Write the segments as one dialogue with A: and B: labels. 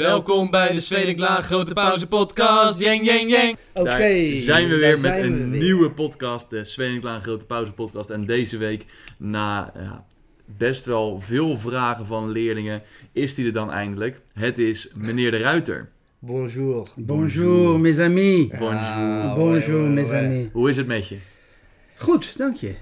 A: Welkom bij de Zweden Klaar Grote Pauze Podcast. Jeng, jeng, jeng.
B: Oké.
C: Daar zijn we weer
B: daar
C: met
B: zijn
C: een
B: we weer.
C: nieuwe podcast, de Sven en Klaan Grote Pauze podcast. En deze week, na ja, best wel veel vragen van leerlingen, is die er dan eindelijk. Het is meneer de Ruiter.
B: Bonjour.
D: Bonjour, mes amis.
C: Bonjour.
B: Ah,
D: Bonjour,
B: ouais, ouais,
D: mes
B: ouais.
D: amis.
C: Hoe is het met je?
D: Goed, dank je.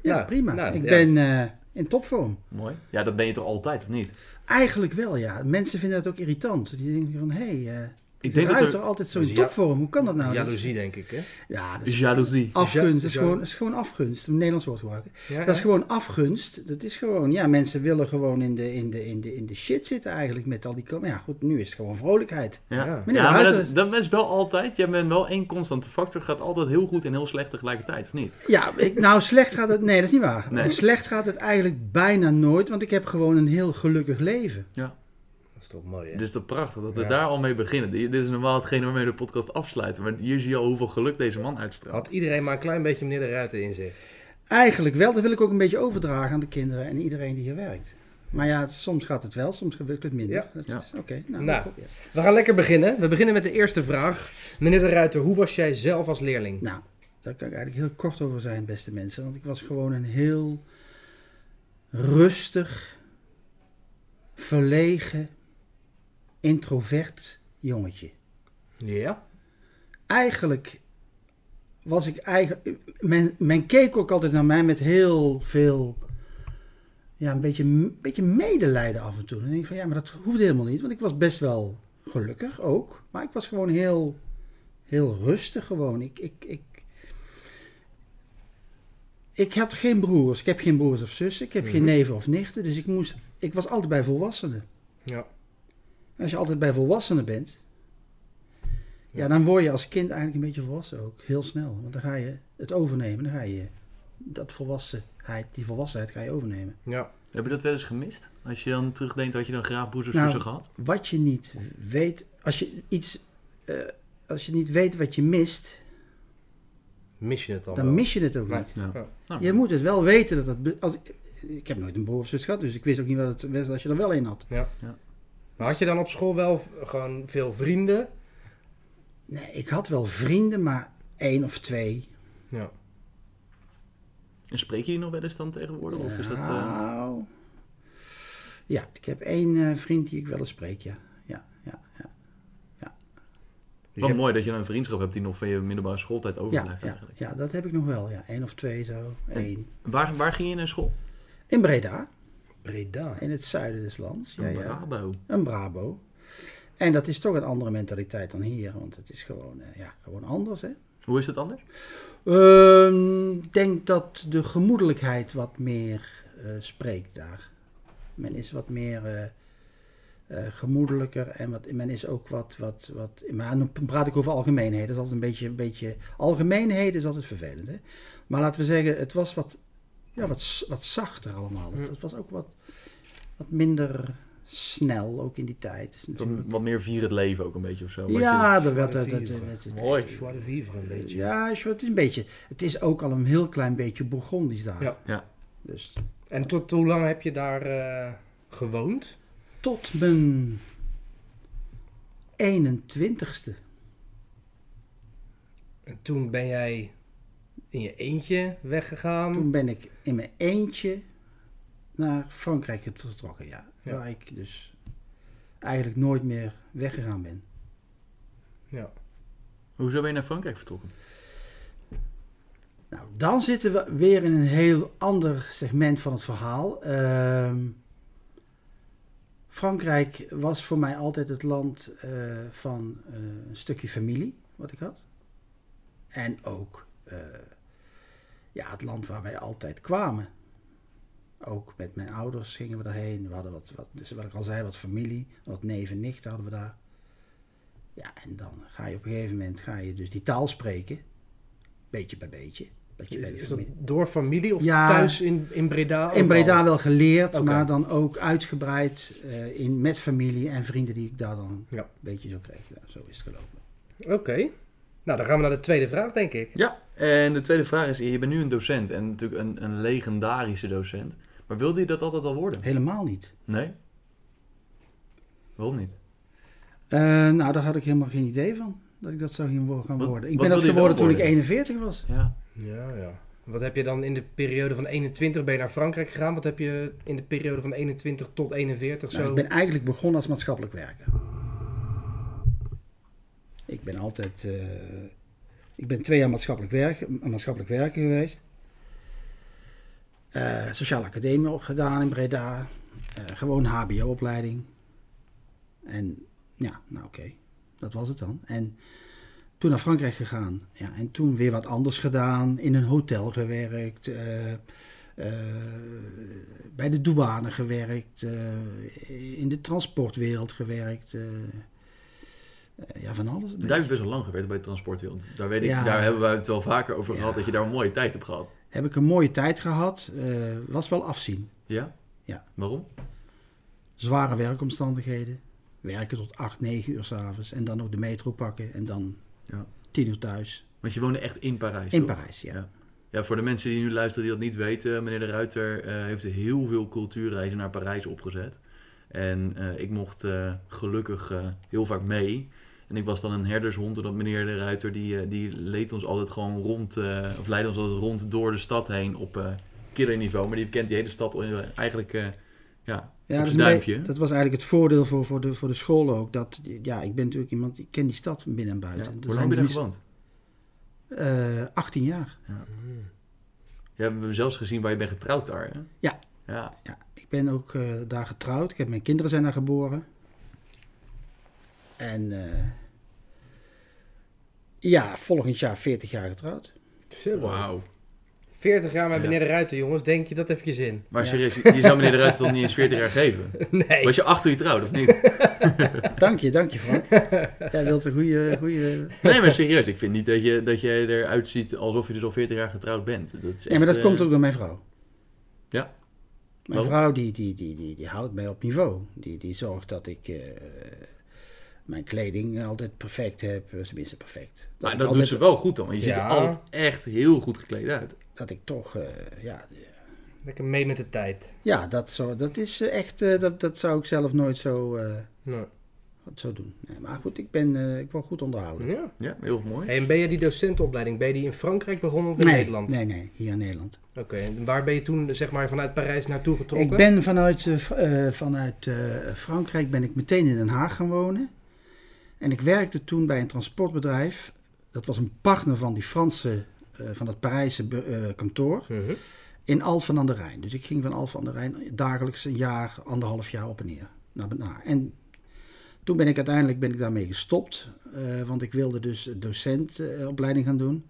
D: Ja,
B: Nou,
D: prima.
B: nou,
D: ik
B: ja.
D: ben eh, in topvorm.
C: Mooi. Ja, dat ben je toch altijd, of niet?
D: Eigenlijk wel, ja. Mensen vinden dat ook irritant. Die denken van, hé, hey, eh
C: Ik
D: de
C: denk dat
D: ruiter
C: er
D: altijd zo
B: Dus
D: in
B: ja- dus-
D: topvorm. Hoe kan dat nou?
B: Jaloezie, denk ik, hè?
D: Ja, dat is
C: jaloezie.
D: afgunst. Dat is
B: Ja-
D: gewoon, dat is gewoon afgunst. Een Nederlands woord gebruiken.
B: Ja,
D: Dat is gewoon afgunst. Dat is gewoon, ja, mensen willen gewoon in de, in de, in de, in de shit zitten eigenlijk met al die... kom- Ja, goed, nu is het gewoon vrolijkheid.
C: Ja,
B: Ja.
C: ja.
D: Meneer de
C: maar
D: Ruiter.
C: dat, dat is wel altijd. Jij bent wel één constante factor. Gaat altijd heel goed en heel slecht tegelijkertijd, of niet?
D: Ja, ik, nou slecht gaat het... Nee, dat is niet waar.
C: Nee.
D: Slecht gaat het eigenlijk bijna nooit, want ik heb gewoon een heel gelukkig leven.
B: Dat is toch mooi, hè?
C: Dus dat is prachtig dat we
B: Ja.
C: daar al mee beginnen. Dit dit is normaal hetgene waarmee we de podcast afsluiten. Maar hier zie je al hoeveel geluk deze man uitstraalt.
B: Had iedereen maar een klein beetje meneer de Ruiter in zich.
D: Eigenlijk wel, dat wil ik ook een beetje overdragen aan de kinderen en iedereen die hier werkt. Maar ja, soms gaat het wel, soms gebeurt het minder.
B: Ja.
D: Dat is-
C: Ja.
D: Oké, nou,
B: Nou.
D: probeer het.
B: We gaan lekker beginnen. We beginnen met de eerste vraag. Meneer de Ruiter, hoe was jij zelf als leerling?
D: nou, daar kan ik eigenlijk heel kort over zijn, beste mensen. Want ik was gewoon een heel rustig, verlegen, introvert jongetje.
B: Ja?
D: Eigenlijk was ik eigenlijk... Men, men keek ook altijd naar mij met heel veel... ja, een beetje, een beetje medelijden af en toe. Dan denk ik van ja, maar dat hoefde helemaal niet. Want ik was best wel gelukkig ook. Maar ik was gewoon heel, heel rustig gewoon. Ik, ik, ik, ik had geen broers. Ik heb geen broers of zussen. Ik heb geen
B: Mhm.
D: neven of nichten. Dus ik, moest, ik was altijd bij volwassenen.
B: Ja.
D: En als je altijd bij volwassenen bent. Ja,
B: Ja.
D: dan word je als kind eigenlijk een beetje volwassen ook. Heel snel. Want dan ga je het overnemen. Dan ga je dat volwassenheid, die volwassenheid ga je overnemen.
B: Ja.
C: Heb je dat wel eens gemist? Als je dan terugdenkt, had je dan graag broers of
D: Nou,
C: zussen gehad?
D: wat je niet weet, als je iets, eh, als je niet weet wat je mist,
B: Mis je het dan
D: dan
B: wel?
D: mis je het ook
B: Nee.
D: niet.
C: Ja. Nou,
D: Je moet het wel weten dat dat. be- Als, ik heb nooit een broer of zus gehad, dus ik wist ook niet wat het was als je er wel een had.
B: Maar had je dan op school wel v- gewoon veel vrienden?
D: Nee, ik had wel vrienden, maar één of twee.
B: Ja.
C: En spreek je die nog wel eens dan tegenwoordig? Of is dat... eh,
D: Nou, Ja, ik heb één eh, vriend die ik wel eens spreek, ja. Ja, ja, ja.
B: Dus
C: Wat
B: je-
C: mooi dat je dan een vriendschap hebt die nog van je middelbare schooltijd
D: Ja,
C: overblijft
D: ja,
C: eigenlijk.
D: ja, dat heb ik nog wel, ja. Eén of twee zo, één.
C: Waar, waar ging je naar school?
D: In Breda,
B: Breda.
D: in het zuiden des lands. Ja,
C: Een
D: ja.
C: Brabo.
D: een Brabo. En dat is toch een andere mentaliteit dan hier, want het is gewoon, eh, ja, gewoon anders. hè.
C: Hoe is dat anders?
D: Ehm, Ik denk dat de gemoedelijkheid wat meer eh, spreekt daar. Men is wat meer eh, eh, gemoedelijker en wat, men is ook wat, wat, wat. Maar dan praat ik over algemeenheden. Dat is altijd een beetje. Een beetje algemeenheden is altijd vervelend. Hè? Maar laten we zeggen, het was wat, ja, wat, s- wat zachter allemaal. Het, het was ook wat, wat minder snel, ook in die tijd. natuurlijk.
C: Wat meer vier het leven ook een beetje of zo. wat je-
D: Ja, dat werd.
B: Zwarte
D: Dat, dat, dat,
B: vieren.
D: dat-
C: Mooi.
B: Joie de vivre een beetje.
D: ja, zo, het is een beetje. Het is ook al een heel klein beetje Bourgondisch daar.
B: Ja.
C: Ja.
D: Dus
B: En tot hoe lang heb je daar eh, gewoond?
D: tot mijn 21ste.
B: En toen ben jij in je eentje weggegaan.
D: Toen ben ik in mijn eentje naar Frankrijk vertrokken, ja.
B: Ja.
D: Waar ik dus eigenlijk nooit meer weggegaan ben.
B: Ja.
C: Hoezo ben je naar Frankrijk vertrokken?
D: Nou, dan zitten we weer in een heel ander segment van het verhaal. Ehm, Frankrijk was voor mij altijd het land eh, van eh, een stukje familie, wat ik had. En ook eh, ja, het land waar wij altijd kwamen. Ook met mijn ouders gingen we daarheen. We hadden wat, wat, dus wat ik al zei, wat familie, wat neven en nichten hadden we daar. Ja, en dan ga je op een gegeven moment ga je dus die taal spreken. Beetje bij beetje. beetje
B: Is,
D: bij de
B: is dat
D: familie.
B: door familie of
D: Ja.
B: thuis in, in Breda? ook
D: In Breda
B: al?
D: wel geleerd,
B: Oké.
D: maar dan ook uitgebreid eh, in, met familie en vrienden die ik daar dan
B: Ja.
D: een beetje zo kreeg. Ja, zo is het gelopen.
B: Oké. Nou, dan gaan we naar de tweede vraag, denk ik.
C: Ja, en de tweede vraag is, je bent nu een docent en natuurlijk een, een legendarische docent. Maar wilde je dat altijd al worden?
D: Helemaal niet.
C: Nee? Waarom niet?
D: Eh, nou, daar had ik helemaal geen idee van. Dat ik dat zou hier wo- gaan
C: Wat-
D: worden. Ik
C: wat
D: ben dat
C: wil je
D: geworden
C: wel
D: toen ik
C: worden?
D: 41 was.
C: Ja.
B: Ja, ja. Wat heb je dan in de periode van 21 ben je naar Frankrijk gegaan? Wat heb je in de periode van 21 tot 41 zo?
D: Nou, ik ben eigenlijk begonnen als maatschappelijk werker. Ik ben altijd. eh, ik ben twee jaar maatschappelijk werker, maatschappelijk werker geweest. Eh, sociale academie ook gedaan in Breda. Eh, gewoon HBO-opleiding. En ja, nou oké. Dat was het dan. En toen naar Frankrijk gegaan. Ja, en toen weer wat anders gedaan. In een hotel gewerkt. eh, eh, bij de douane gewerkt, eh, in de transportwereld gewerkt. eh, eh, ja, van alles.
C: Daar heb je best wel lang gewerkt bij de transportwereld. Daar, weet ik,
D: Ja.
C: daar hebben we het wel vaker over
D: Ja.
C: gehad, dat je daar een mooie tijd hebt gehad.
D: Heb ik een mooie tijd gehad. eh, was wel afzien.
C: Ja?
D: Ja.
C: Waarom?
D: Zware werkomstandigheden. Werken tot 8, 9 uur s'avonds. En dan nog de metro pakken. En dan
C: Ja.
D: 10 uur thuis.
C: Want je woonde echt in Parijs,
D: In
C: toch?
D: Parijs, ja.
C: Ja. Ja, voor de mensen die nu luisteren die dat niet weten, meneer de Ruiter eh, heeft heel veel cultuurreizen naar Parijs opgezet. En eh, ik mocht eh, gelukkig eh, heel vaak mee. En ik was dan een herdershond, en dat meneer de Ruiter die, eh, die leed ons altijd gewoon rond, eh, of leidde ons altijd rond door de stad heen op eh kinderniveau. Maar die kent die hele stad eh, eigenlijk, eh, ja,
D: Ja,
C: Op
D: dat, is
C: zijn
D: een
C: duimpje,
D: be-
C: hè?
D: dat was eigenlijk het voordeel voor, voor, de, voor de scholen ook. Dat, ja, ik ben natuurlijk iemand, ik ken die stad binnen en
C: ja.
D: buiten. Er
C: Hoe lang
D: zijn
C: heb je daar
D: drie-
C: gewoond?
D: eh, 18 jaar.
B: Hmm.
C: Je hebt hem zelfs gezien waar je bent getrouwd daar, hè?
D: Ja.
C: Ja,
D: Ik ben ook eh, daar getrouwd. Ik heb, mijn kinderen zijn daar geboren. En eh, ja, volgend jaar 40 jaar getrouwd.
B: Zo.
C: wauw.
B: 40 jaar met
C: Ja.
B: meneer de Ruiter, jongens. Denk je dat eventjes in?
C: Maar
D: Ja.
C: serieus, je je zou meneer de Ruiter toch niet eens 40 jaar geven?
B: Nee.
C: Was je achter je trouwde, of niet?
D: Dank je, dank je Frank. Jij wilt een goede... goede...
C: Nee, maar serieus, ik vind niet dat je, dat je eruit ziet alsof je dus al 40 jaar getrouwd bent. Dat is echt,
D: Nee, maar dat
C: eh,
D: komt ook door mijn vrouw.
C: Ja.
D: Mijn
C: Waarom?
D: vrouw die, die, die, die, die houdt mij op niveau. Die, die zorgt dat ik eh, mijn kleding altijd perfect heb. Eh, Tenminste perfect. Dat,
C: Maar
D: ik
C: dat
D: altijd-
C: doet ze wel goed dan, want je ziet
B: Ja.
C: er altijd echt heel goed gekleed uit.
D: dat ik toch... eh, ja,
B: Lekker mee met de tijd.
D: ja dat, zo, dat is eh, echt... eh, dat, dat zou ik zelf nooit zo... eh,
B: Nou,
D: Wat zou doen. Nee, maar goed, ik ben eh, ik word goed onderhouden.
B: ja.
C: Ja, heel mooi.
B: Hey, en ben je die docentenopleiding, ben je die in Frankrijk begonnen of in
D: nee,
B: Nederland?
D: Nee, nee, hier in Nederland.
B: Oké, en waar ben je toen zeg maar vanuit Parijs naartoe getrokken?
D: Ik ben vanuit, eh, Fr- eh, vanuit eh, Frankrijk ben ik meteen in Den Haag gaan wonen. En ik werkte toen bij een transportbedrijf. Dat was een partner van die Franse, eh, van dat Parijse be- eh, kantoor.
B: Mhm.
D: In Alphen aan de Rijn. Dus ik ging van Alphen aan de Rijn dagelijks een jaar, anderhalf jaar op en neer. Naar, naar. En toen ben ik uiteindelijk ben ik daarmee gestopt. eh, want ik wilde dus docentopleiding gaan doen.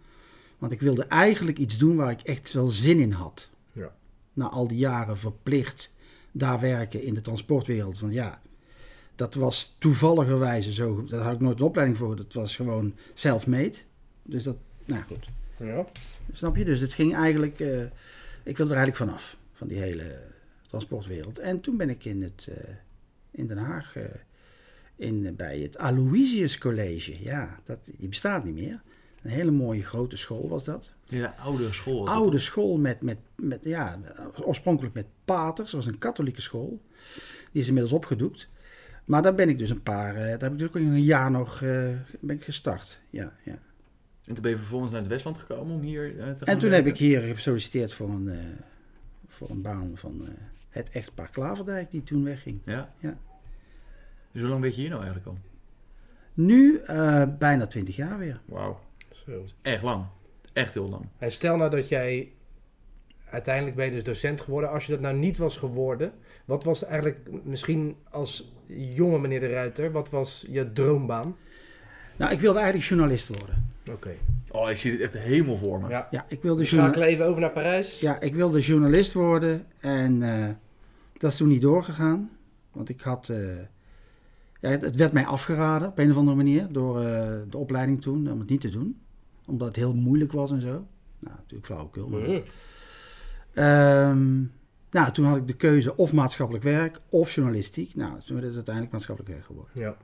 D: Want ik wilde eigenlijk iets doen waar ik echt wel zin in had.
B: Ja.
D: Na al die jaren verplicht daar werken in de transportwereld. Want ja, dat was toevalligerwijze zo. Daar had ik nooit een opleiding voor. Dat was gewoon self-made. Dus dat, nou goed.
B: Ja.
D: Snap je? Dus het ging eigenlijk. eh, ik wilde er eigenlijk vanaf, van die hele transportwereld. En toen ben ik in, het, eh, in Den Haag eh, in, eh, bij het Aloysius College. Ja, dat, die bestaat niet meer. Een hele mooie grote school was dat.
C: Ja, de oude school. was dat.
D: Oude school met, met, met, ja, oorspronkelijk met paters. Dat was een katholieke school. Die is inmiddels opgedoekt. Maar daar ben ik dus een paar, eh, daar heb ik dus ook een jaar nog eh, ben ik gestart. Ja, ja.
C: En toen ben je vervolgens naar het Westland gekomen om hier eh, te gaan
D: En toen heb
C: werken.
D: ik hier gesolliciteerd voor een, eh, voor een baan van eh het echtpaar Klaverdijk, die toen wegging.
C: Ja?
D: Ja.
C: Dus hoe lang ben je hier nou eigenlijk al?
D: Nu eh, bijna twintig jaar weer.
C: Wauw.
B: Zo.
C: Echt lang. Echt heel lang.
B: En stel nou dat jij uiteindelijk ben je dus docent geworden. Als je dat nou niet was geworden, wat was eigenlijk misschien als jonge meneer de Ruiter, wat was je droombaan?
D: Nou, ik wilde eigenlijk journalist worden.
B: Oké.
C: Oh, ik zie dit echt helemaal voor me.
B: Ja.
D: Ja, ik wilde,
B: We
D: journa-
B: schakelen even over naar Parijs.
D: Dus ja, ik wilde journalist worden en eh, dat is toen niet doorgegaan. Want ik had, eh, ja, het, het werd mij afgeraden op een of andere manier door eh, de opleiding toen om het niet te doen. Omdat het heel moeilijk was en zo. Nou, natuurlijk flauwekul, maar...
B: Mhm.
D: Ehm, nou, toen had ik de keuze of maatschappelijk werk of journalistiek. Nou, toen werd het uiteindelijk maatschappelijk werk geworden.
B: Ja.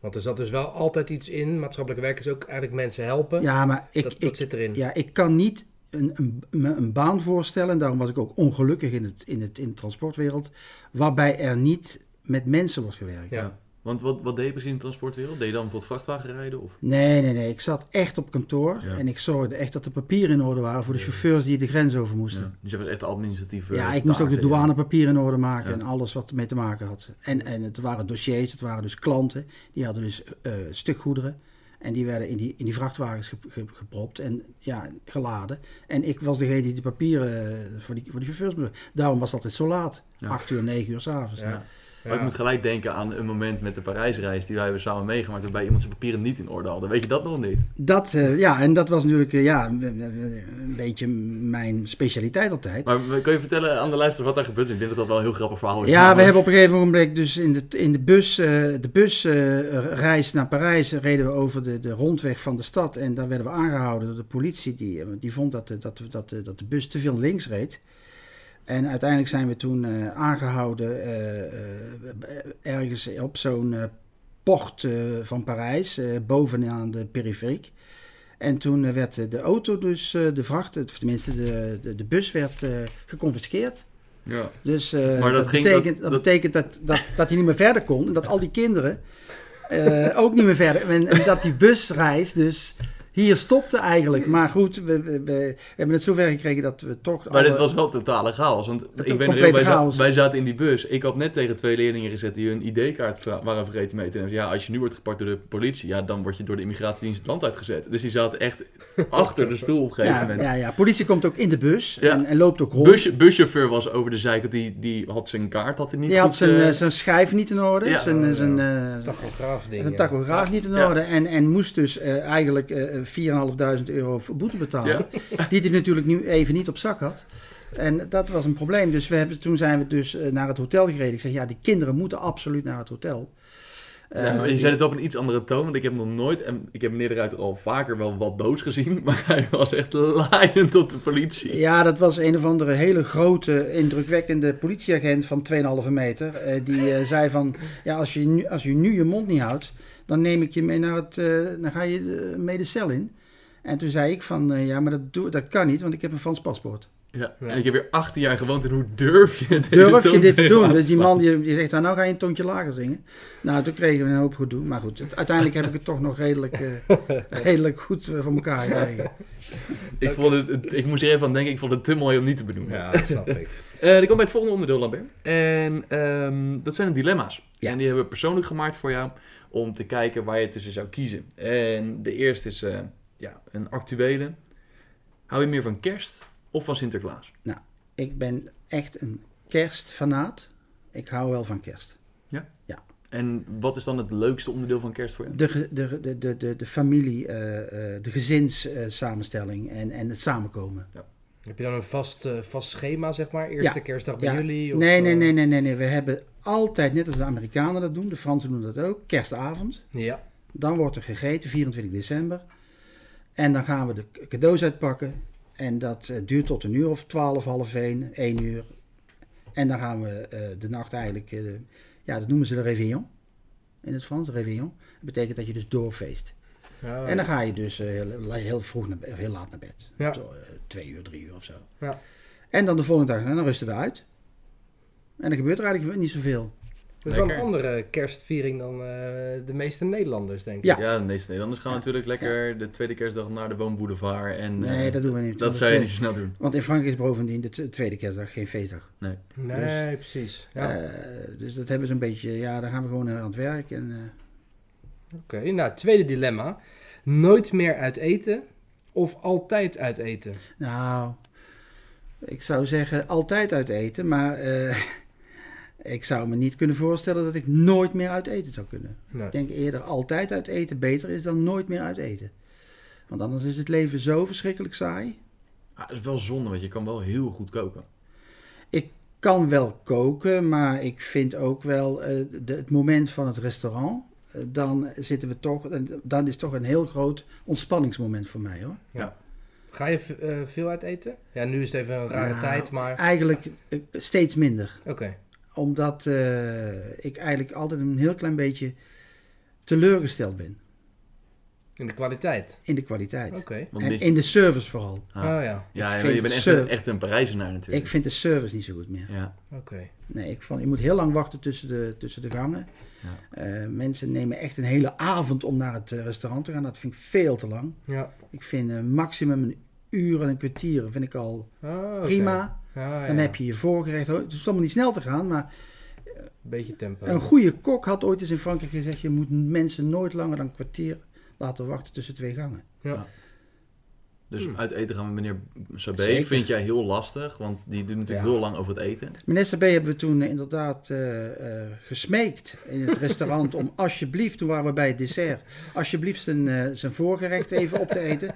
B: Want er zat dus wel altijd iets in. Maatschappelijk werk is ook eigenlijk mensen helpen.
D: Ja, maar ik,
B: dat, dat
D: ik,
B: zit erin.
D: ja, ik kan niet een, een, me een baan voorstellen, en daarom was ik ook ongelukkig in, het, in, het, in de transportwereld, waarbij er niet met mensen wordt gewerkt.
B: Ja.
C: Want wat, wat deed je precies in de transportwereld? Deed je dan bijvoorbeeld vrachtwagen rijden? Of?
D: Nee, nee, nee. Ik zat echt op kantoor
C: Ja.
D: en ik zorgde echt dat de papieren in orde waren voor de
C: Ja.
D: chauffeurs die de grens over moesten.
C: Ja. Dus je was echt de administratieve
D: Ja, ik moest ook de
C: taken, ja.
D: douanepapieren in orde maken
C: Ja.
D: en alles wat ermee te maken had. En, en het waren dossiers, het waren dus klanten, die hadden dus eh, stukgoederen. En die werden in die, in die vrachtwagens ge- ge- gepropt en ja, geladen. En ik was degene die de papieren eh, voor, die, voor de chauffeurs moest. Daarom was het altijd zo laat.
C: Ja.
D: 8 uur, 9 uur s'avonds.
B: Ja.
D: avonds
C: Maar ik moet gelijk denken aan een moment met de Parijsreis die wij hebben samen meegemaakt, waarbij iemand zijn papieren niet in orde hadden. Weet je dat nog niet?
D: Dat, eh, ja, en dat was natuurlijk eh, ja, een- een een beetje mijn specialiteit altijd.
C: Maar we- kun je vertellen aan de luisteraar wat daar gebeurd is? Ik denk dat dat wel een heel grappig verhaal is.
D: Ja, we hebben op een gegeven moment dus in de, in de bus, eh, de busreis naar Parijs eh, reden we over de, de rondweg van de stad. En daar werden we aangehouden door de politie. Die, eh, die vond dat de, dat, de- dat, de, dat de bus te veel links reed. En uiteindelijk zijn we toen eh, aangehouden eh, eh, ergens op zo'n eh, port eh, van Parijs, eh, bovenaan de periferiek. En toen eh, werd eh, de auto dus, eh, de vracht, of tenminste de, de, de bus werd eh, geconfiskeerd.
C: Ja.
D: Dus eh,
C: dat
D: dat,
C: ging-
D: betekent,
C: dat-
D: dat,
C: dat-
D: betekent dat, dat, dat hij niet meer verder kon. En dat al die kinderen eh, ook niet meer verder. En, en dat die busreis dus hier stopte eigenlijk. Maar goed, we, we, we hebben het zover gekregen dat we toch...
C: Maar
D: alle-
C: dit was wel totale chaos. Want
D: Het
C: ik ben er
D: complete
C: heel, wij, za-
D: chaos.
C: wij zaten in die bus. Ik had net tegen twee leerlingen gezet die hun ID-kaart vra- waren vergeten mee te nemen. Ja, als je nu wordt gepakt door de politie, ja, dan word je door de immigratiedienst het land uitgezet. Dus die zaten echt achter de stoel op een gegeven
D: ja,
C: moment.
D: ja, ja, politie komt ook in de bus
C: Ja.
D: en, en loopt ook rond.
C: Bus, buschauffeur was over de zeik, want die, die had zijn kaart had hij niet
D: die
C: goed,
D: had zijn,
C: eh,
D: eh, zijn schijf niet in orde,
C: Ja.
D: zijn, eh, zijn, eh,
B: Tachograaf ding.
D: zijn
B: ja.
D: tachograaf niet in
C: Ja.
D: orde. En, en moest dus eh, eigenlijk eh 4.500 euro voor boete betalen.
C: ja.
D: Die hij natuurlijk nu even niet op zak had. En dat was een probleem. Dus we hebben, toen zijn we dus eh, naar het hotel gereden. Ik zeg, ja, die kinderen moeten absoluut naar het hotel.
C: Ja,
D: Eh,
C: maar je zei het op een iets andere toon, want ik heb nog nooit, en ik heb meneer de Ruiter al vaker wel wat boos gezien, maar hij was echt laaiend op de politie.
D: ja, dat was een of andere hele grote, indrukwekkende politieagent van 2,5 meter. eh, die eh, zei van, ja, als je, nu, als je nu je mond niet houdt, dan neem ik je mee naar het, eh, dan ga je eh, mee de cel in. En toen zei ik van, eh, ja, maar dat, doe, dat kan niet, want ik heb een Frans paspoort.
C: Ja.
B: Ja.
C: En ik heb hier 18 jaar gewoond en hoe durf je dit
D: Durf je dit te doen? Dus die man die, die zegt, nou, nou ga je een toontje lager zingen. Nou, toen kregen we een hoop gedoe. Maar goed, het- uiteindelijk heb ik het toch nog redelijk, eh, redelijk goed eh, voor elkaar gekregen.
C: Ik, vond het, het- ik moest hier even aan denken, ik vond het te mooi om niet te benoemen.
B: Ja, dat snap ik.
C: Eh, dan kom bij het volgende onderdeel, Lambert. En ehm, dat zijn de dilemma's.
D: Ja.
C: En die hebben we persoonlijk gemaakt voor jou om te kijken waar je tussen zou kiezen. En de eerste is eh, ja, een actuele. Hou je meer van kerst of van Sinterklaas?
D: Ik ben echt een kerstfanaat. Ik hou wel van kerst.
C: En wat is dan het leukste onderdeel van kerst voor je?
D: De, ge- de, de, de, de, de familie, eh, eh, de gezinssamenstelling eh, en, en het samenkomen.
B: Heb je dan een vast, eh, vast schema, zeg maar? Eerste kerstdag bij
D: Ja.
B: jullie? Of,
D: Nee, nee,
B: eh,
D: nee, nee, nee, nee. We hebben altijd, net als de Amerikanen dat doen, de Fransen doen dat ook, kerstavond.
B: Ja,
D: Dan wordt er gegeten, 24 december. En dan gaan we de k- cadeaus uitpakken. En dat eh, duurt tot een uur of twaalf, half één, één uur. En dan gaan we eh, de nacht eigenlijk, eh, ja, dat noemen ze de réveillon. In het Frans, réveillon. Dat betekent dat je dus doorfeest.
B: Ja,
D: En dan ga je dus eh, heel, heel vroeg, naar, be- of heel laat naar bed.
B: Ja.
D: Zo, eh, twee uur, drie uur of zo.
B: Ja.
D: En dan de volgende dag, nou, dan rusten we uit. En dan gebeurt er eigenlijk niet zoveel.
B: Dat is wel een
C: Lekker.
B: andere kerstviering dan eh, de meeste Nederlanders, denk ik.
D: Ja.
C: Ja, de meeste Nederlanders gaan
D: Ja.
C: natuurlijk lekker de tweede kerstdag naar de woonboulevard. En, eh,
D: Nee,
C: dat,
D: dat doen we niet.
C: zou je niet zo snel doen.
D: Want in Frankrijk is bovendien de t- tweede kerstdag geen feestdag.
B: Nee, precies. Ja.
D: Dus, Eh, dus dat hebben ze een beetje, ja, daar gaan we gewoon eh, aan het werk. En, eh,
B: Oké, nou, tweede dilemma. Nooit meer uit eten of altijd uit eten?
D: nou, ik zou zeggen altijd uit eten, maar eh, ik zou me niet kunnen voorstellen dat ik nooit meer uit eten zou kunnen.
B: Nee.
D: Ik denk eerder altijd uit eten beter is dan nooit meer uit eten. Want anders is het leven zo verschrikkelijk saai.
C: Ah, het is wel zonde, want je kan wel heel goed koken.
D: Kan wel koken, maar ik vind ook wel eh, de, het moment van het restaurant. eh, Dan zitten we toch, dan is toch een heel groot ontspanningsmoment voor mij hoor.
B: Ga je v- eh, veel uit eten? Ja, nu is het even een rare
D: Nou,
B: tijd, maar...
D: Eigenlijk eh, steeds minder.
B: Oké.
D: Omdat eh, ik eigenlijk altijd een heel klein beetje teleurgesteld ben
B: In de kwaliteit.
D: in de kwaliteit.
B: Oké.
C: Want
D: En
C: dit-
D: in de service vooral.
C: Ah.
B: Oh ja,
C: ja,
D: ik
C: je,
D: vind
C: je bent echt
D: ze-
C: een, echt een Parijzenaar natuurlijk.
D: Ik vind de service niet zo goed meer.
C: Ja.
B: oké.
D: Nee, ik, vond, ik moet heel lang wachten tussen de, tussen de gangen. Eh, mensen nemen echt een hele avond om naar het eh, restaurant te gaan. Dat vind ik veel te lang.
B: Ja.
D: Ik vind eh, maximum een uur en een kwartier vind ik al
B: Ah, oké.
D: prima.
B: Ah,
D: Dan
B: ja.
D: heb je je voorgerecht. Het is allemaal niet snel te gaan, maar
B: Beetje tempo.
D: een goede kok had ooit eens in Frankrijk gezegd... je moet mensen nooit langer dan een kwartier laten wachten tussen twee gangen.
C: Dus
B: Hmm.
C: uit eten gaan met meneer Sabé
D: Zeker.
C: vind jij heel lastig, want die doet natuurlijk
B: Ja.
C: heel lang over het eten.
D: Minister B hebben we toen eh, inderdaad eh, eh, gesmeekt in het restaurant om alsjeblieft, toen waren we bij het dessert, alsjeblieft zijn, eh, zijn voorgerecht even op te eten.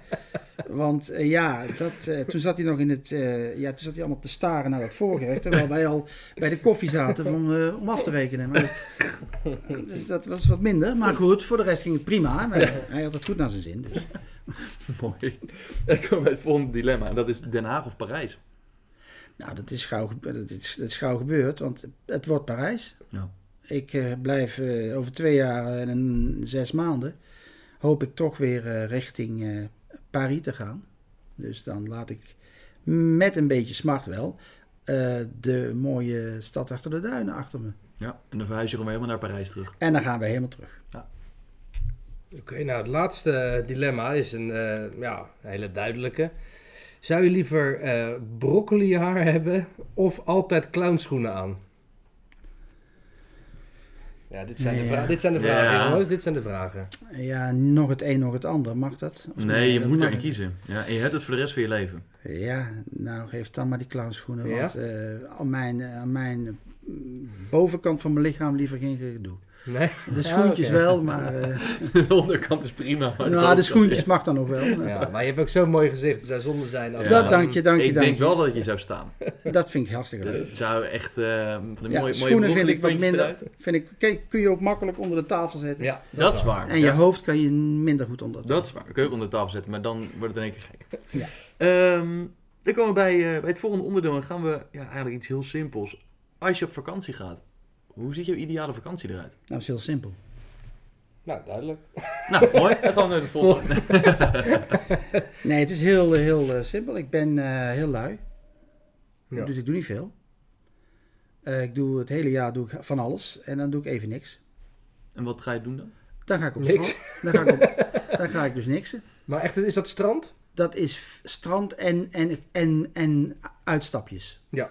D: Want eh, ja, dat, eh, toen zat hij nog in het, eh, ja, toen zat hij allemaal te staren naar dat voorgerecht, terwijl wij al bij de koffie zaten van, eh, om af te rekenen. Maar, dus dat was wat minder, maar goed, voor de rest ging het prima. Maar hij had het goed naar zijn zin. Dus.
C: Mooi. Dan komen we bij het volgende dilemma. En dat is Den Haag of Parijs.
D: Nou, dat is gauw, gebe- dat is, dat is gauw gebeurd, want het wordt Parijs.
C: Ja.
D: Ik eh, blijf eh, over twee jaar en een- zes maanden, hoop ik toch weer eh, richting eh, Parijs te gaan. Dus dan laat ik met een beetje smart wel eh, de mooie stad achter de duinen achter me.
C: Ja, en dan verhuis je gewoon weer helemaal naar Parijs terug.
D: En dan gaan we helemaal terug.
B: Oké, nou het laatste dilemma is een eh, ja, een hele duidelijke. Zou je liever eh broccoli haar hebben of altijd clownschoenen aan? Ja, dit zijn, de,
D: Ja.
B: vra- dit zijn de vragen,
C: Ja.
B: jongens. Dit zijn de vragen.
D: Ja, nog het een, nog het ander. Mag dat? Of
C: Nee, je
D: dat
C: moet
D: mag
C: erin
D: niet.
C: kiezen. Ja, en je hebt het voor de rest van je leven.
D: Ja, nou geef dan maar die clownschoenen.
B: Ja?
D: Want eh, aan mijn, aan mijn bovenkant van mijn lichaam liever geen gedoe.
B: Nee?
D: De
B: Ja,
D: schoentjes
B: oké.
D: wel, maar. eh,
C: De onderkant is prima. maar
D: nou, de
C: bovenkant-
D: schoentjes mag dan nog wel.
B: Ja, maar je hebt ook zo'n mooi gezicht. Het zou zonde zijn als
C: Ja.
B: je
D: Dat
B: dan-
D: dank je, dank je,
C: Ik
D: dank
C: denk
D: je.
C: wel dat je zou staan.
D: Dat vind ik hartstikke leuk.
C: Dat zou echt eh, van de
D: Ja,
C: mooie, mooie
D: schoenen vind ik wat
C: broccoli-puntjes
D: minder.
C: eruit.
D: Vind ik, kijk, kun je ook makkelijk onder de tafel zetten.
B: Ja,
C: Dat is waar.
D: En je
C: Ja.
D: hoofd kan je minder goed onder de
C: Dat
D: tafel.
C: is waar. Keuken onder de tafel zetten, maar dan wordt het in één keer gek.
D: Ja.
C: Ehm, dan komen we bij, eh, bij het volgende onderdeel en gaan we ja, eigenlijk iets heel simpels. Als je op vakantie gaat, hoe ziet jouw ideale vakantie eruit?
D: Nou, is heel simpel.
B: Nou, duidelijk.
C: Nou, mooi. Dan gaan we naar de volgende.
D: Nee, het is heel, eh, heel eh, simpel. Ik ben eh, heel lui.
B: Ja.
D: Dus ik doe niet veel. Eh, ik doe het hele jaar doe ik van alles en dan doe ik even niks.
C: En wat ga je doen dan?
D: Dan ga ik op
B: Niks.
D: strand. Dan ga ik, op, dan ga ik dus niksen.
B: Maar echt, is dat strand?
D: Dat is f- strand en, en, en, en uitstapjes.
C: Ja?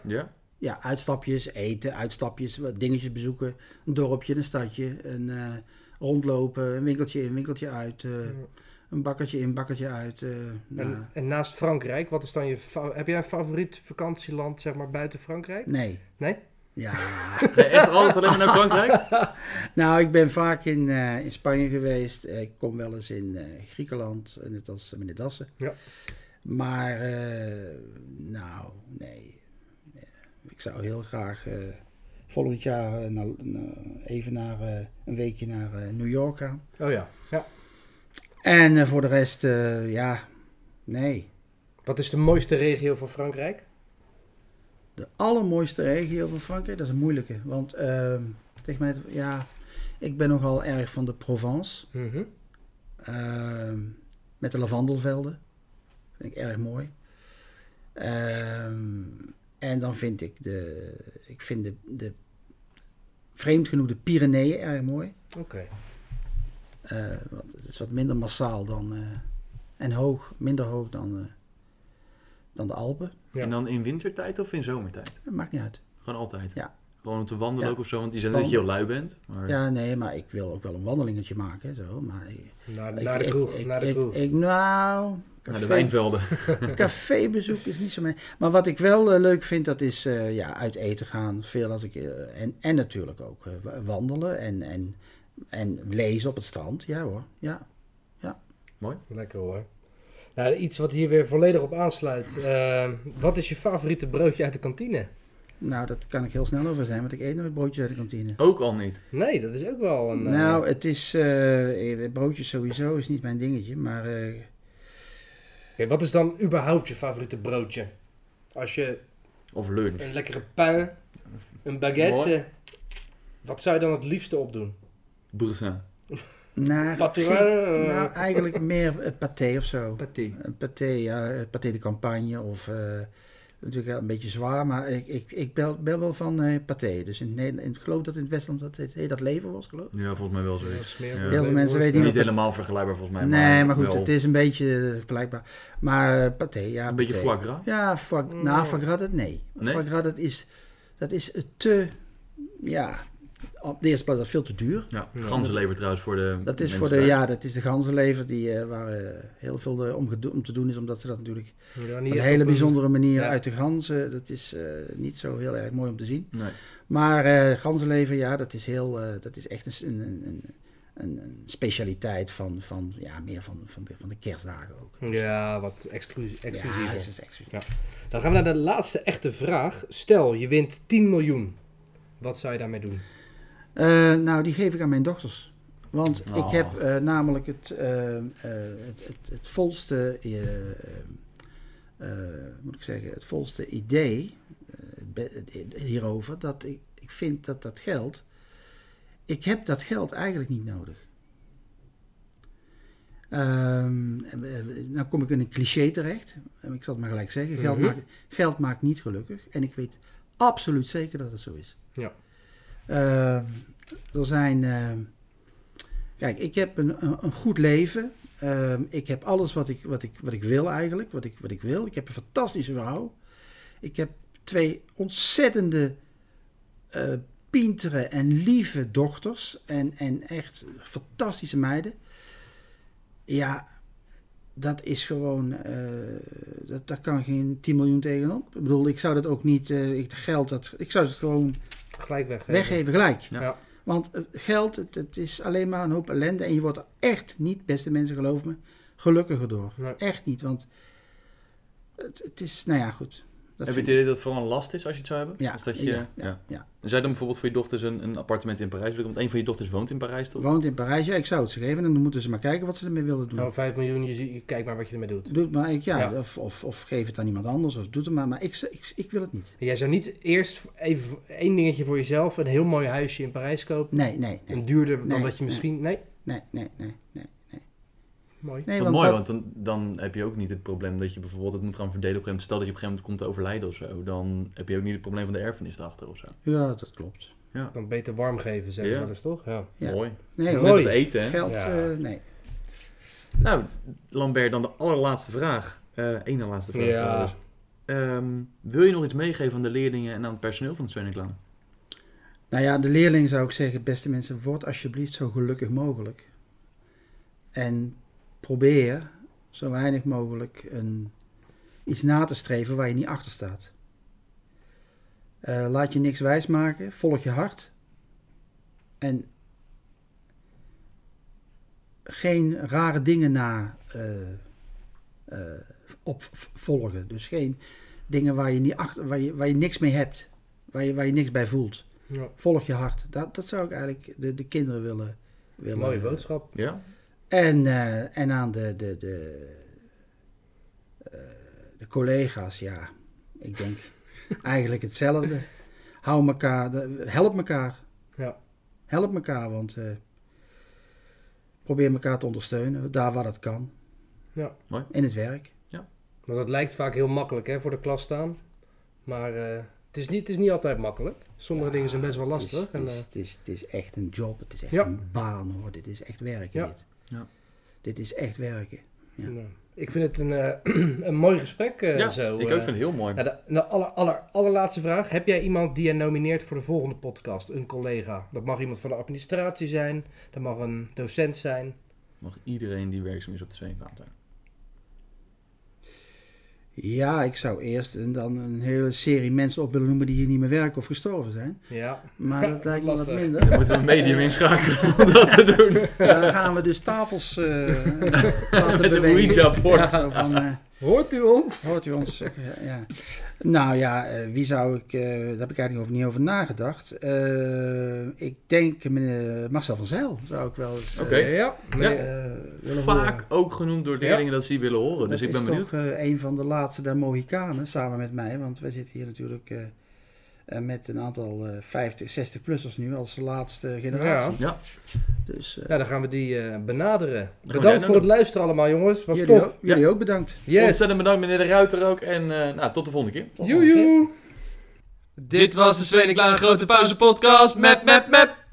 D: Ja, uitstapjes, eten, uitstapjes, wat dingetjes bezoeken. Een dorpje, een stadje, een eh, rondlopen, een winkeltje in, winkeltje uit. eh, Een bakkertje in, bakkertje uit. eh, nou,
B: En, en naast Frankrijk, wat is dan je... fa- Heb jij een favoriet vakantieland, zeg maar, buiten Frankrijk?
D: nee.
B: Nee?
D: Ja.
C: Ga je echt altijd alleen maar naar Frankrijk?
D: Nou, ik ben vaak in, eh, in Spanje geweest. Eh, ik kom wel eens in eh, Griekenland, eh, net als meneer Dassen.
B: Ja.
D: Maar, eh, nou, nee. Eh, Ik zou heel graag eh, volgend jaar eh, naar- naar- even naar, eh, een weekje naar eh, New York gaan.
B: Oh ja. ja.
D: En eh, voor de rest, eh, ja, nee.
B: Wat is de mooiste regio van Frankrijk?
D: De allermooiste regio van Frankrijk, dat is een moeilijke. Want, eh, zeg maar net, ja, ik ben nogal erg van de Provence.
B: Mhm.
D: Ehm, met de lavandelvelden. Vind ik erg mooi. Ehm, en dan vind ik de, ik vind de, de vreemd genoeg de Pyreneeën erg mooi.
B: Oké.
D: Eh, want het is wat minder massaal dan, eh, en hoog, minder hoog dan, eh, dan de Alpen.
B: Ja.
C: En dan in wintertijd of in zomertijd?
D: Dat maakt niet uit.
C: Gewoon altijd?
D: Ja.
C: Gewoon om te wandelen
D: Ja.
C: ook of zo, want die zijn dat je heel lui bent. Maar...
D: Ja, nee, maar ik wil ook wel een wandelingetje maken. Zo, maar ik-
B: Naar,
D: ik-
B: naar de
D: ik-
B: kroeg.
D: ik-
B: naar de
D: ik-
B: kroeg.
D: ik- nou,
C: Naar de
D: café-
C: wijnvelden.
D: Cafébezoek is niet zo mijn. Maar wat ik wel eh, leuk vind, dat is eh, ja, uit eten gaan. Veel als ik, eh, en, en natuurlijk ook eh, wa- wandelen en, en, en lezen op het strand. Ja hoor. Ja.
B: Lekker hoor. Nou, iets wat hier weer volledig op aansluit. Eh, wat is je favoriete broodje uit de kantine?
D: Nou, dat kan ik heel snel over zijn, want ik eet nooit broodjes uit de kantine.
C: Ook al niet.
B: Nee, dat is ook wel een... eh,
D: Nou, het is. eh, eh, broodjes sowieso is niet mijn dingetje, maar. eh,
B: oké, wat is dan überhaupt je favoriete broodje? Als je
C: Of lunch.
B: een lekkere pain, een baguette... eh, Wat zou je dan het liefste opdoen?
C: Brussin.
D: nou,
B: Paté,
D: geen-
B: eh,
D: nou, eigenlijk meer eh, paté of zo.
B: Paté.
D: Een paté, ja, het paté de campagne of eh, Natuurlijk een beetje zwaar, maar ik, ik, ik bel, bel wel van eh Pathé. Dus in, Nederland, ik geloof dat in het Westland dat het heet dat leven was, geloof ik.
C: Ja, volgens mij wel
B: Ja,
C: zoiets.
B: smeer-
C: Ja.
D: Heel veel mensen weten
C: Niet
D: Ja.
C: helemaal vergelijkbaar volgens mij.
D: nee, maar goed,
C: wel
D: het is een beetje eh, vergelijkbaar. Maar eh, Pathé, ja.
C: Een beetje
D: Pathé.
C: foie gras.
D: Ja, foie,
B: Mm.
D: nou, foie gras dat nee.
C: Nee?
D: Foie gras dat is, dat is te, ja, op de eerste plaats dat is veel te duur.
C: Ja,
B: Ja.
C: ganzenlever trouwens voor de
D: Dat is
C: mensen
D: voor de,
C: daar.
D: ja, dat is de ganzenlever die, eh, waar eh, heel veel eh, om, gedo- om te doen is, omdat ze dat natuurlijk
B: Ja,
D: op
B: niet
D: een
B: echt
D: hele
B: op
D: bijzondere manier
B: ja.
D: uit de ganzen, dat is eh, niet zo heel erg mooi om te zien.
C: Nee.
D: Maar eh, ganzenlever, ja, dat is, heel, eh, dat is echt een, een, een, een, een specialiteit van, van, ja, meer van, van, de, van de kerstdagen ook.
B: Ja, wat exclusief.
D: Ja,
B: exclusiever.
D: het is exclusief.
B: Dan gaan we naar de laatste echte vraag. Stel, je wint 10 miljoen. Wat zou je daarmee doen?
D: Eh, nou, die geef ik aan mijn dochters. Want
C: Oh.
D: ik heb eh, namelijk het, eh, eh, het, het, het volste, eh, eh, eh, moet ik zeggen, het volste idee eh, be- eh, hierover. Dat ik, ik vind dat dat geld, ik heb dat geld eigenlijk niet nodig. Ehm, eh, eh, nou kom ik in een cliché terecht. Eh, Ik zal het maar gelijk zeggen. Geld,
B: Mhm.
D: maakt, geld maakt niet gelukkig. En ik weet absoluut zeker dat het zo is.
B: Ja.
D: Eh, er zijn. eh, kijk, ik heb een, een, een goed leven. Eh, ik heb alles wat ik, wat ik, wat ik wil eigenlijk. Wat ik, wat ik wil. Ik heb een fantastische vrouw. Ik heb twee ontzettende eh pintere en lieve dochters. En, en echt fantastische meiden. Ja, dat is gewoon. eh, dat, daar kan geen 10 miljoen tegenop. Ik bedoel, ik zou dat ook niet. eh, ik, geld dat, ik zou het gewoon
B: Gelijk weggeven.
D: weggeven gelijk.
C: Ja.
B: Ja.
D: Want eh, geld, het, het is alleen maar een hoop ellende. En je wordt er echt niet, beste mensen, geloof me, gelukkiger door.
B: Nee.
D: Echt niet, want het, het is, nou ja, goed. Dat
C: Heb je
D: vind
C: het idee dat het vooral een last is als je het zou hebben?
D: Ja,
C: Dus dat je,
D: ja, ja,
C: ja.
D: ja.
C: Zou je dan bijvoorbeeld voor je dochters een, een appartement in Parijs willen? Want een van je dochters woont in Parijs toch?
D: Woont in Parijs, ja, ik zou het ze geven. En dan moeten ze maar kijken wat ze ermee willen doen.
B: Nou, 5 miljoen, je, zie- je kijkt maar wat je ermee doet.
D: Doe het maar, ik, ja,
B: Ja.
D: Of, of, of geef het aan iemand anders, of doe het maar. Maar ik, ik, ik wil het niet.
B: Jij zou niet eerst even voor- één dingetje voor jezelf, een heel mooi huisje in Parijs kopen.
D: Nee, nee, nee,
B: Een duurder dan
D: Nee,
B: dat je
D: nee.
B: misschien. Nee,
D: nee, nee, nee. nee.
B: mooi.
D: nee
C: Wat mooi, want
D: dat-
C: dan, dan heb je ook niet het probleem dat je bijvoorbeeld het moet gaan verdelen op een gegeven moment. Stel dat je op een gegeven moment komt te overlijden of zo, dan heb je ook niet het probleem van de erfenis erachter of zo.
D: Ja, dat klopt.
B: Dan beter warm geven, zeggen
C: Ja.
B: ze wel eens toch? Ja.
D: Ja.
C: Mooi.
D: Nee,
C: Dat is
D: hoor.
C: net
B: Mooi.
C: als eten, hè?
D: Geld,
B: Ja.
D: eh, nee.
C: Nou, Lambert, dan de allerlaatste vraag. Eh Eén na laatste vraag.
B: Ja.
C: trouwens. Ehm, wil je nog iets meegeven aan de leerlingen en aan het personeel van het Svenniklaan?
D: Nou ja, de leerling zou ik zeggen, beste mensen, word alsjeblieft zo gelukkig mogelijk. En probeer zo weinig mogelijk een, iets na te streven waar je niet achter staat. Eh, laat je niks wijsmaken, volg je hart. En geen rare dingen na eh, eh, opvolgen. Dus geen dingen waar je, niet achter, waar je, waar je niks mee hebt, waar je, waar je niks bij voelt
B: Ja.
D: volg je hart. Dat, dat zou ik eigenlijk de, de kinderen willen, willen.
B: Mooie boodschap.
C: Ja?
D: En, eh, en aan de, de, de, eh, de collega's, ja, ik denk eigenlijk hetzelfde. Hou elkaar, de- help elkaar.
B: Ja.
D: Help elkaar, want eh, probeer elkaar te ondersteunen, daar waar dat kan.
B: Ja.
C: Mooi.
D: In het werk.
B: Want dat lijkt vaak heel makkelijk hè, voor de klas staan. Maar eh, het, is niet, het is niet altijd makkelijk. Sommige dingen zijn best wel
D: Het is-
B: lastig.
D: Het
B: en, eh,
D: is, het, is, het is echt een job, het is echt
B: Ja.
D: een baan hoor, dit is echt werken
B: Ja.
D: dit.
C: Ja.
D: Dit is echt werken.
B: eh,
D: Ja.
B: nou, ik vind het een, eh, een mooi gesprek eh,
C: ja,
B: zo.
C: ik ook
B: eh.
C: vind het heel mooi.
B: Nou, de, de aller, aller, allerlaatste vraag. Heb jij iemand die je nomineert voor de volgende podcast? Een collega. Dat mag iemand van de administratie zijn. Dat mag een docent zijn.
C: Mag iedereen die werkzaam is op het Svenniklaan zijn.
D: Ja, ik zou eerst en dan een hele serie mensen op willen noemen die hier niet meer werken of gestorven zijn.
B: Ja.
D: Maar dat lijkt me wat
B: Lastig.
D: minder.
C: Dan moeten we een medium inschakelen om dat te doen.
D: Dan gaan we dus tafels eh laten
C: Met een
D: bewegen.
C: Ouija-bord.
D: Zo van, eh,
B: Hoort u ons?
D: hoort u ons? zeggen? ja. Nou ja, eh, wie zou ik... eh, daar heb ik eigenlijk over, niet over nagedacht. Eh, ik denk meneer Marcel van Zijl zou ik wel eens eh,
C: Oké.
B: Ja. Nee,
D: eh, willen horen.
C: Vaak ook genoemd door leerlingen dat ze die willen horen.
D: Dat
C: Dus ik ben
D: is
C: benieuwd.
D: toch eh, een van de laatste der Mohikanen, samen met mij. Want wij zitten hier natuurlijk eh, eh, met een aantal eh 50, 60-plussers nu als de laatste generatie.
C: Ja.
D: Dus eh,
B: Nou, dan gaan we die eh, benaderen.
C: jij
B: Bedankt
C: nou
B: voor
C: doen.
B: het luisteren allemaal, jongens. Was
D: jullie,
B: tof.
D: ook, jullie ook bedankt.
B: Yes.
C: Ontzettend bedankt meneer de Ruiter ook. En eh, nou, tot de volgende keer.
D: Tot de volgende keer.
B: Joejoe.
A: Dit was de Zweden Klaar Grote Pauze podcast. Mep, mep, mep.